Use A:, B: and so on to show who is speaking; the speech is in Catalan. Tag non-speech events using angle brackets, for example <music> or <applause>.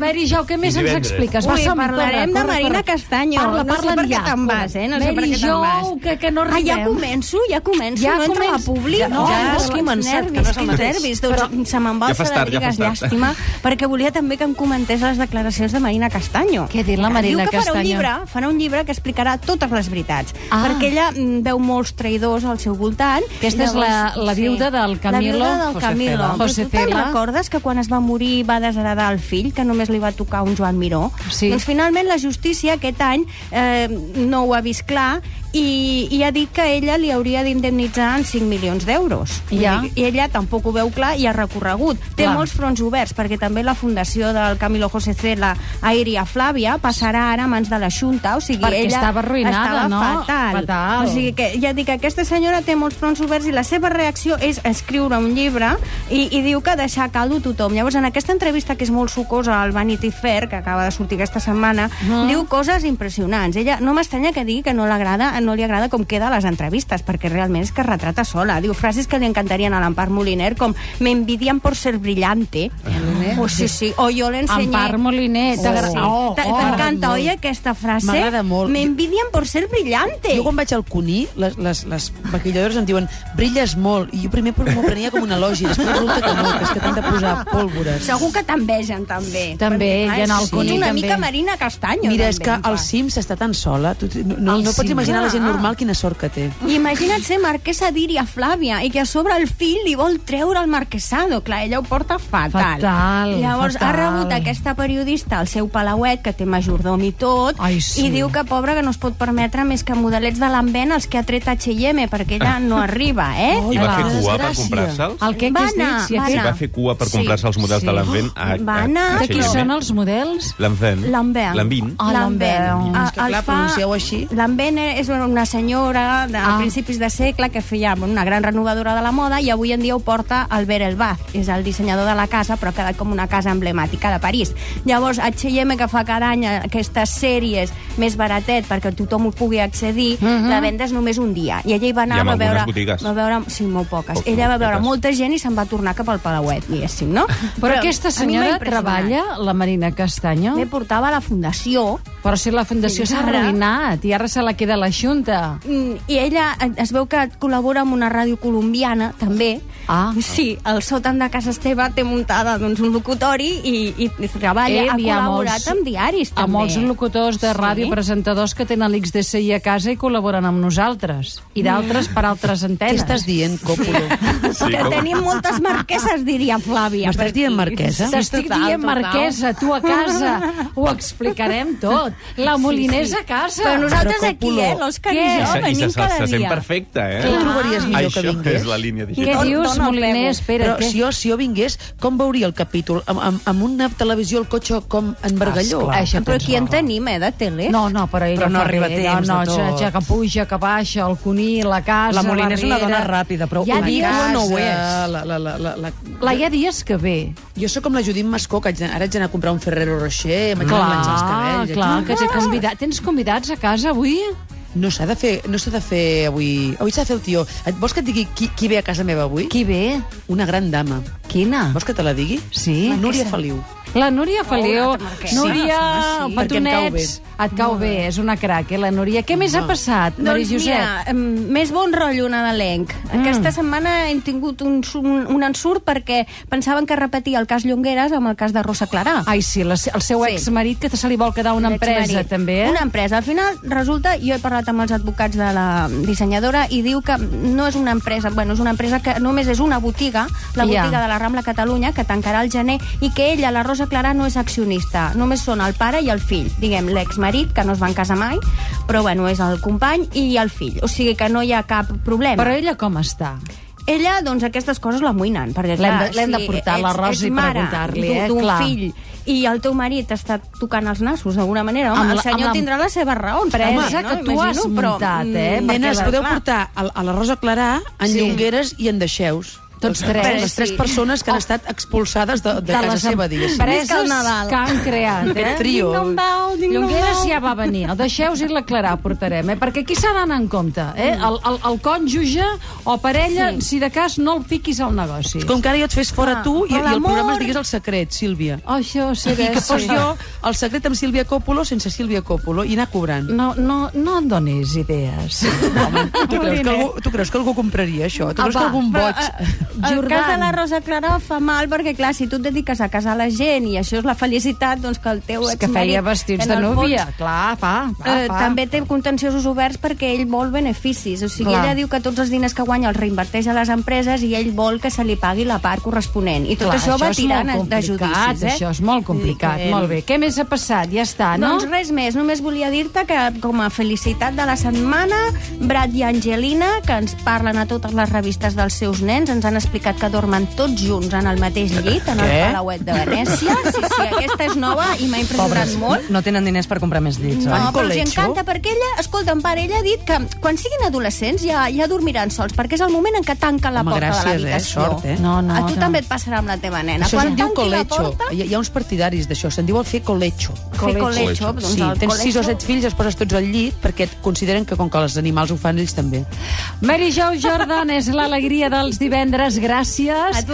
A: Mary Jo, què més ens
B: divendres.
A: expliques?
C: Ui,
A: som-hi,
C: parlarem de Marina Castanyo.
A: Parla,
C: No sé
A: parla
C: per què
A: ja.
C: te'n vas, eh? No sé
A: Mary
C: per què te'n
A: jo,
C: vas.
A: que, que no
C: Ah,
A: arribem.
C: ja començo, ja començo,
A: Ja
C: no entra
A: començ-
C: la
A: Ja,
C: pública.
A: no,
C: ja,
A: ja has
C: quins
A: començat, que no és el
C: nervis, quins
B: mateix.
C: nervis. Doncs se me'n va
B: Ja
C: el
B: fas tard, ja
C: Frederiques,
B: fas tard.
C: llàstima, perquè volia també que em comentés les declaracions de Marina Castanyo.
A: Què ha dit la Marina
C: Diu que farà un
A: Castanyo?
C: llibre, farà un llibre que explicarà totes les veritats,
A: Ah.
C: perquè ella mm, veu molts traïdors al seu voltant.
A: Aquesta és la- la viuda del Camilo
C: La viuda del
A: José
C: Camilo.
A: Cela.
C: Però
A: José
C: tu te'n
A: Cela.
C: recordes que quan es va morir va desheredar el fill, que només li va tocar un Joan Miró?
A: Sí.
C: Doncs finalment la justícia aquest any eh, no ho ha vist clar i, i ha dit que ella li hauria d'indemnitzar en 5 milions d'euros.
A: Ja.
C: I ella tampoc ho veu clar i ha recorregut. Té
A: Clar.
C: molts fronts oberts, perquè també la fundació del Camilo José Cela, Airia Flàvia, passarà ara a mans de la Junta, o sigui,
A: Perquè
C: ella
A: estava arruïnada,
C: estava
A: no?
C: Fatal.
A: Fatal.
C: O sigui que ja dic que aquesta senyora té molts fronts oberts i la seva reacció és escriure un llibre i, i diu que deixar caldo tothom. Llavors, en aquesta entrevista, que és molt sucosa al Vanity Fair, que acaba de sortir aquesta setmana,
A: Mhm.
C: diu coses impressionants. Ella no m'estranya que digui que no l'agrada no li agrada com queda a les entrevistes, perquè realment és que es retrata sola. Diu frases que li encantarien a l'Empar Moliner, com me envidian por ser brillante.
A: Moliner?
C: O sí, sí. O jo l'ensenyé...
A: Empar Moliner, t'agra- Oh,
C: T-
A: oh.
C: T'encanta, oi, aquesta frase?
D: M'agrada molt.
C: Me envidian por ser brillante.
D: Jo quan vaig al Cuní, les, les, les maquilladores em diuen brilles molt, i jo primer m'ho prenia com un elogi, després resulta que no, que és que t'han de posar pólvores.
C: Segur que t'envegen, també.
A: També,
C: Perquè,
A: i en
C: clar,
A: el
C: és
A: Cuní,
C: una
A: també.
C: mica Marina Castanyo.
D: Mira, és
C: també,
D: que
C: en
D: al
C: part.
D: cim s'està tan sola. Tu, no no,
A: Al
D: no pots
A: cim,
D: imaginar la gent
C: clar.
D: normal quina sort que té.
C: Eh, Imagina't ser marquesa d'Iria Flàvia i que a sobre el fill li vol treure el marquesado. Clar, ella ho porta fatal.
A: Fatal,
C: Llavors
A: fatal.
C: ha rebut aquesta periodista al seu palauet, que té majordom i tot,
A: Ai, sí.
C: i diu que pobra que no es pot permetre més que modelets de l'envent els que ha tret H&M, perquè ella no arriba, eh?
D: Oh,
B: I va
A: Hola.
B: fer
D: quina
B: cua per
D: desgràcia.
B: comprar-se'ls?
A: El que,
C: Va
A: què has dit?
C: anar,
A: Si
C: va
A: aquest-
B: I
C: anar.
B: va fer cua per
C: Sí.
B: comprar-se els models
C: Sí.
B: de l'Anvent a,
C: Va anar.
B: a
A: De qui
B: H&M.
A: són els models?
B: L'Anvent.
C: L'Anvent.
B: L'Anvint.
A: Ah, l'Anvent.
C: Ah,
D: Mm. És que, clar,
C: el fa-
D: pronuncieu així.
C: L'Anvent és una senyora de
A: Ah.
C: ah. principis de segle que feia bueno, una gran renovadora de la moda i avui en dia ho porta Albert Elbaz, és el dissenyador de la casa, però ha quedat com una casa emblemàtica de París. Llavors, H&M, que fa cada any aquestes sèries més baratet perquè tothom ho pugui accedir,
A: Mhm.
C: la venda és només un dia. I ella hi va anar,
B: I amb
C: va veure...
B: algunes botigues.
C: Va veure... Sí, molt poques.
B: Poc-
C: ella va
B: molt
C: veure
B: poques.
C: molta gent i se'n va tornar cap al Palauet, diguéssim, no?
A: Però aquesta
C: a mi m'ha
A: senyora
C: impressionat.
A: treballa, la Marina Castanyo?
C: Me portava a la fundació,
A: Però si la Fundació
C: Fins
A: s'ha
C: ara.
A: arruïnat i ara se la queda la Junta.
C: Mm, i ella eh, es veu que col·labora amb una ràdio colombiana, també.
A: Ah.
C: Sí, el sòtan de casa Esteve té muntada doncs, un locutori i, i treballa,
A: Ell
C: ha
A: i a
C: col·laborat
A: molts-
C: amb diaris,
A: A
C: també.
A: molts locutors de
C: Sí.
A: ràdio presentadors que tenen l'XDCI a casa i col·laboren amb nosaltres. I d'altres per altres
D: Què
A: antenes.
D: estàs dient, Còpolo?
B: Sí,
C: que
B: com-
C: tenim moltes marqueses, diria Flàvia.
D: M'estàs
C: per
D: dient
C: aquí.
D: marquesa?
A: T'estic
C: Total,
A: dient,
C: total.
A: Marquesa, tu a casa. Ho explicarem tot. La Molinés a casa.
C: Però nosaltres
D: Però
C: aquí,
D: Còpolo,
C: eh, l'Òscar i
A: què?
B: I se,
C: jo,
B: i se,
C: venim
B: se,
C: cada
B: se sent
C: dia.
B: perfecte, eh?
D: Tu trobaries millor que
B: Això
D: vingués?
B: és la línia
A: Què
B: digital.
A: dius,
C: dona el
A: Moliner?
C: prego.
A: Espera,
D: Però si jo, si jo vingués, com veuria el capítol? Amb, amb, amb una televisió al cotxe com en Bargalló?
A: Esclar. Això
C: Però
A: tens
C: qui en
A: raó.
C: tenim, eh, de tele?
A: No, no, però ella
E: Però no
A: fa
E: arriba
A: bé.
E: temps
A: no,
E: de
A: no,
E: tot.
A: Ja, ja que puja, que baixa, el Cuní, la casa,
E: La Molina és una
A: Riera.
E: dona ràpida, però
A: hi ha
E: ho diu
A: dies,
E: o no ho
D: La,
E: és?
D: la, la, la, la...
A: La hi ha dies que ve.
D: Jo sóc com la Judit Mascó, que haig d'anar- ara haig d'anar a comprar un Ferrero Rocher, m'haig d'anar a planxar els
A: Clar,
D: cabells...
A: Ah, clar, que t'he convidat. Tens convidats a casa avui?
D: No s'ha de fer, no s'ha de fer avui... Avui s'ha de fer el tio. Et, vols que et digui qui, qui ve a casa meva avui?
A: Qui ve?
D: Una gran dama.
A: Quina?
D: Vols que te la digui?
A: Sí.
D: Núria Feliu.
A: La Núria Feliu.
C: marquesa.
A: Núria,
D: sí.
A: petonets. Et cau bé, és una crac, eh, la Núria. Què més ha passat, Mari
C: Doncs
A: Josep?
C: mira, em, més bon rotllo nadalenc. Aquesta setmana hem tingut un, su- un, un ensurt perquè pensaven que repetia el cas Llongueres amb el cas de Rosa Clarà.
A: Ai, sí, la, el seu
C: Sí.
A: exmarit, que se li vol quedar una empresa,
C: L'exmarit.
A: també, eh?
C: Una empresa. Al final, resulta, jo he parlat amb els advocats de la dissenyadora i diu que no és una empresa, bueno, és una empresa que només és una botiga, la
A: Ja.
C: botiga de la Rambla Catalunya, que tancarà el gener, i que ella, la Rosa Clarà, no és accionista. Només són el pare i el fill. Diguem, l'exmarit, que no es van casar mai, però bueno, és el company i el fill. O sigui que no hi ha cap problema.
A: Però ella com està?
C: Ella, doncs, aquestes coses l'amoïnen,
A: L'hem
C: perquè, clar,
A: de- l'hem de portar a la
C: ets-
A: Rosa
C: ets
A: i
C: mare
A: preguntar-li, eh,
C: d'un- d'un
A: clar.
C: fill i el teu marit està tocant els nassos, d'alguna manera, home,
A: Amb la-
C: el senyor
A: amb la-
C: tindrà les seves raons.
A: Presa
C: també,
A: que tu has muntat, eh,
C: mm,
A: perquè
D: Nenes,
A: la-
D: podeu portar a, a la Rosa Clarà en
A: Sí.
D: sí. llongueres i en deixeus. Doncs
A: Tots tres. Oh.
D: Les tres persones que han estat expulsades de, de, casa seva, diguéssim.
C: Més que el
A: empreses
C: Nadal.
A: que han creat. Eh?
D: Aquest trio.
A: Llongueres ja va venir, el deixeu-vos i la Clarà portarem, eh? perquè aquí s'ha d'anar en compte. Eh? El, el, el cònjuge o parella, sí. si de cas, no el fiquis al negoci.
D: Com que ara jo et fes fora
C: Ah,
D: tu i, i
C: però
D: el programa
C: l'amor-
D: es digués El secret, Sílvia.
A: Oh, això, sí,
D: I que
A: sí.
D: fos jo El secret amb Sílvia Coppolo sense Sílvia Coppolo i anar cobrant.
C: Mm.
A: No, no, no em donis idees.
C: <laughs>
D: Home, tu, creus que algú, tu creus que algú compraria això? Tu
A: Ah,
D: creus que
A: va,
D: algun
C: Però,
D: boig...
C: eh, el
A: Jordan.
C: cas de la Rosa Claró fa mal perquè, clar, si tu et dediques a casar la gent i això és la felicitat, doncs que el teu
A: És que
C: exmarit,
A: feia vestits
C: en
A: de
C: el
A: núvia. Clar, fa,
C: Fons,
A: fa,
C: eh,
A: fa.
C: també té contenciosos oberts perquè ell vol beneficis. O sigui,
A: Clar.
C: ella diu que tots els diners que guanya els reinverteix a les empreses i ell vol que se li pagui la part corresponent. I tot
A: Clar,
C: això, va
A: és
C: tirant
A: molt
C: de
A: complicat,
C: judicis, eh?
A: Això és molt complicat,
C: Vull dir que-
A: molt bé. Què més ha passat? Ja està, no?
C: Doncs res més, només volia dir-te que com a felicitat de la setmana, Brad i Angelina, que ens parlen a totes les revistes dels seus nens, ens han explicat que dormen tots junts en el mateix llit, en el
D: Què?
C: Palauet de Venècia. Sí, sí, aquesta és nova i m'ha impressionat molt.
B: No tenen diners per comprar més llits,
C: No,
B: oi?
D: Van
C: però els hi
D: colecho.
C: encanta, perquè ella, escolta, en part, ella ha dit que quan siguin adolescents ja, ja dormiran sols, perquè és el moment en què tanquen la
D: Home,
C: porta de
D: gràcies, eh?
C: l'habitació.
D: Sort, eh?
A: Oh, No, no,
C: a tu
A: no.
C: també et passarà amb la teva nena.
D: Això
C: quan
D: se'n diu
C: tanqui la
D: colecho.
C: porta,
D: Hi, ha- hi ha uns partidaris d'això, se'n diu el fer colecho.
C: fer
A: Colecho.
C: colecho. Doncs
D: Sí,
C: el
D: tens sis o
C: colecho-
D: set fills, els poses tots al llit perquè et consideren que com que els animals ho fan ells també.
A: Mary Jo Jordan és l'alegria dels divendres. Gràcies.
C: A tu.